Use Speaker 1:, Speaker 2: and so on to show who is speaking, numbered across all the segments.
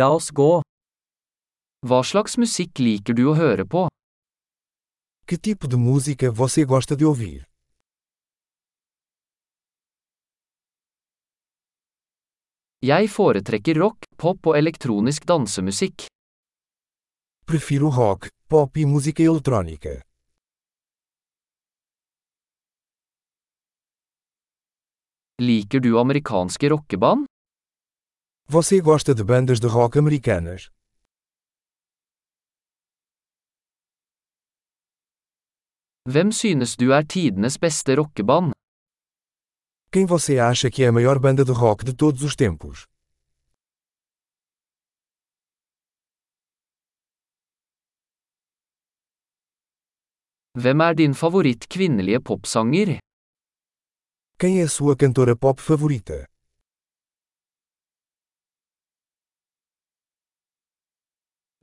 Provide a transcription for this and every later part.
Speaker 1: La oss gå. Hva slags musikk liker du å høre på?
Speaker 2: Que tipo de música você gosta de ouvir?
Speaker 1: Jeg foretrekker rock, pop og elektronisk dansemusikk.
Speaker 2: Prefiro rock, pop e música eletrônica.
Speaker 1: Liker du amerikanske rockeband?
Speaker 2: Você gosta de bandas de rock americanas?
Speaker 1: Hvem synes du er tidenes beste rockeband?
Speaker 2: Quem você acha que é a maior banda de rock de todos os tempos?
Speaker 1: Hvem er din favoritt kvinnelige popsanger?
Speaker 2: Quem é a sua cantora pop favorita?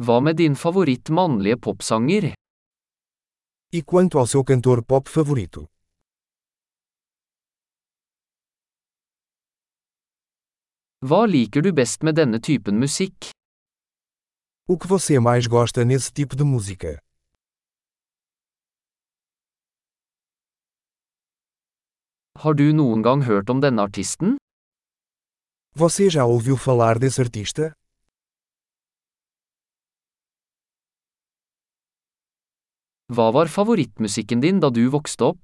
Speaker 1: Hva med din favoritt mannlige popsanger?
Speaker 2: E quanto ao seu cantor pop favorito?
Speaker 1: Hva liker du best med denne typen musikk?
Speaker 2: O que você mais gosta nesse tipo de música?
Speaker 1: Har du noen gang hørt om denne artisten?
Speaker 2: Você já ouviu falar desse artista?
Speaker 1: Hva var favorittmusikken din da du vokste opp?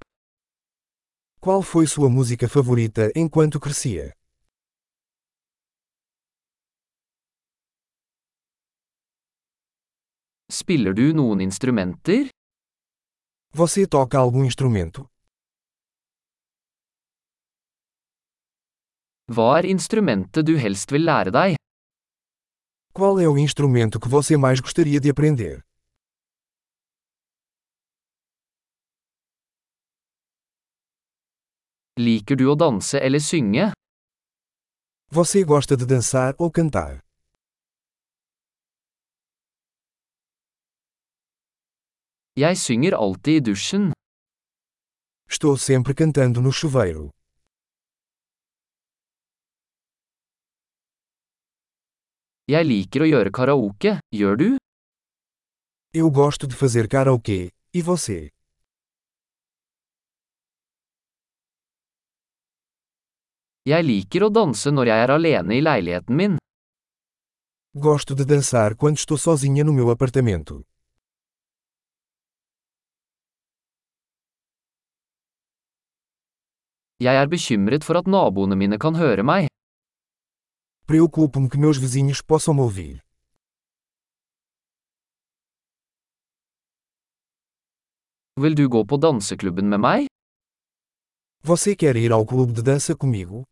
Speaker 2: Qual foi sua música favorita enquanto crescia?
Speaker 1: Spiller du noen instrumenter?
Speaker 2: Você toca algum instrumento?
Speaker 1: Hva er instrumentet du helst vil lære deg?
Speaker 2: Qual é o instrumento que você mais gostaria de aprender?
Speaker 1: Liker du å danse eller synge?
Speaker 2: Você gosta de dançar ou cantar?
Speaker 1: Jeg synger alltid i dusjen.
Speaker 2: Estou sempre cantando no chuveiro.
Speaker 1: Jeg liker å gjøre karaoke, gjør du?
Speaker 2: Eu gosto de fazer karaokê. E você?
Speaker 1: Jeg liker å danse når jeg er alene i leiligheten min.
Speaker 2: Gosto de dançar quando estou sozinha no meu apartamento.
Speaker 1: Jeg er bekymret for at naboene mine kan høre meg.
Speaker 2: Preocupo-me que meus vizinhos possam me ouvir.
Speaker 1: Vil du gå på danseklubben med meg?
Speaker 2: Você quer ir ao clube de dança comigo?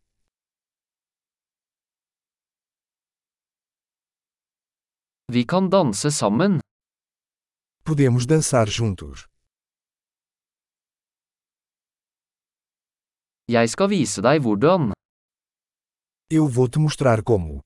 Speaker 1: Vi kan danse sammen.
Speaker 2: Podemos dançar juntos.
Speaker 1: Jeg skal vise deg hvordan.
Speaker 2: Eu vou te mostrar como.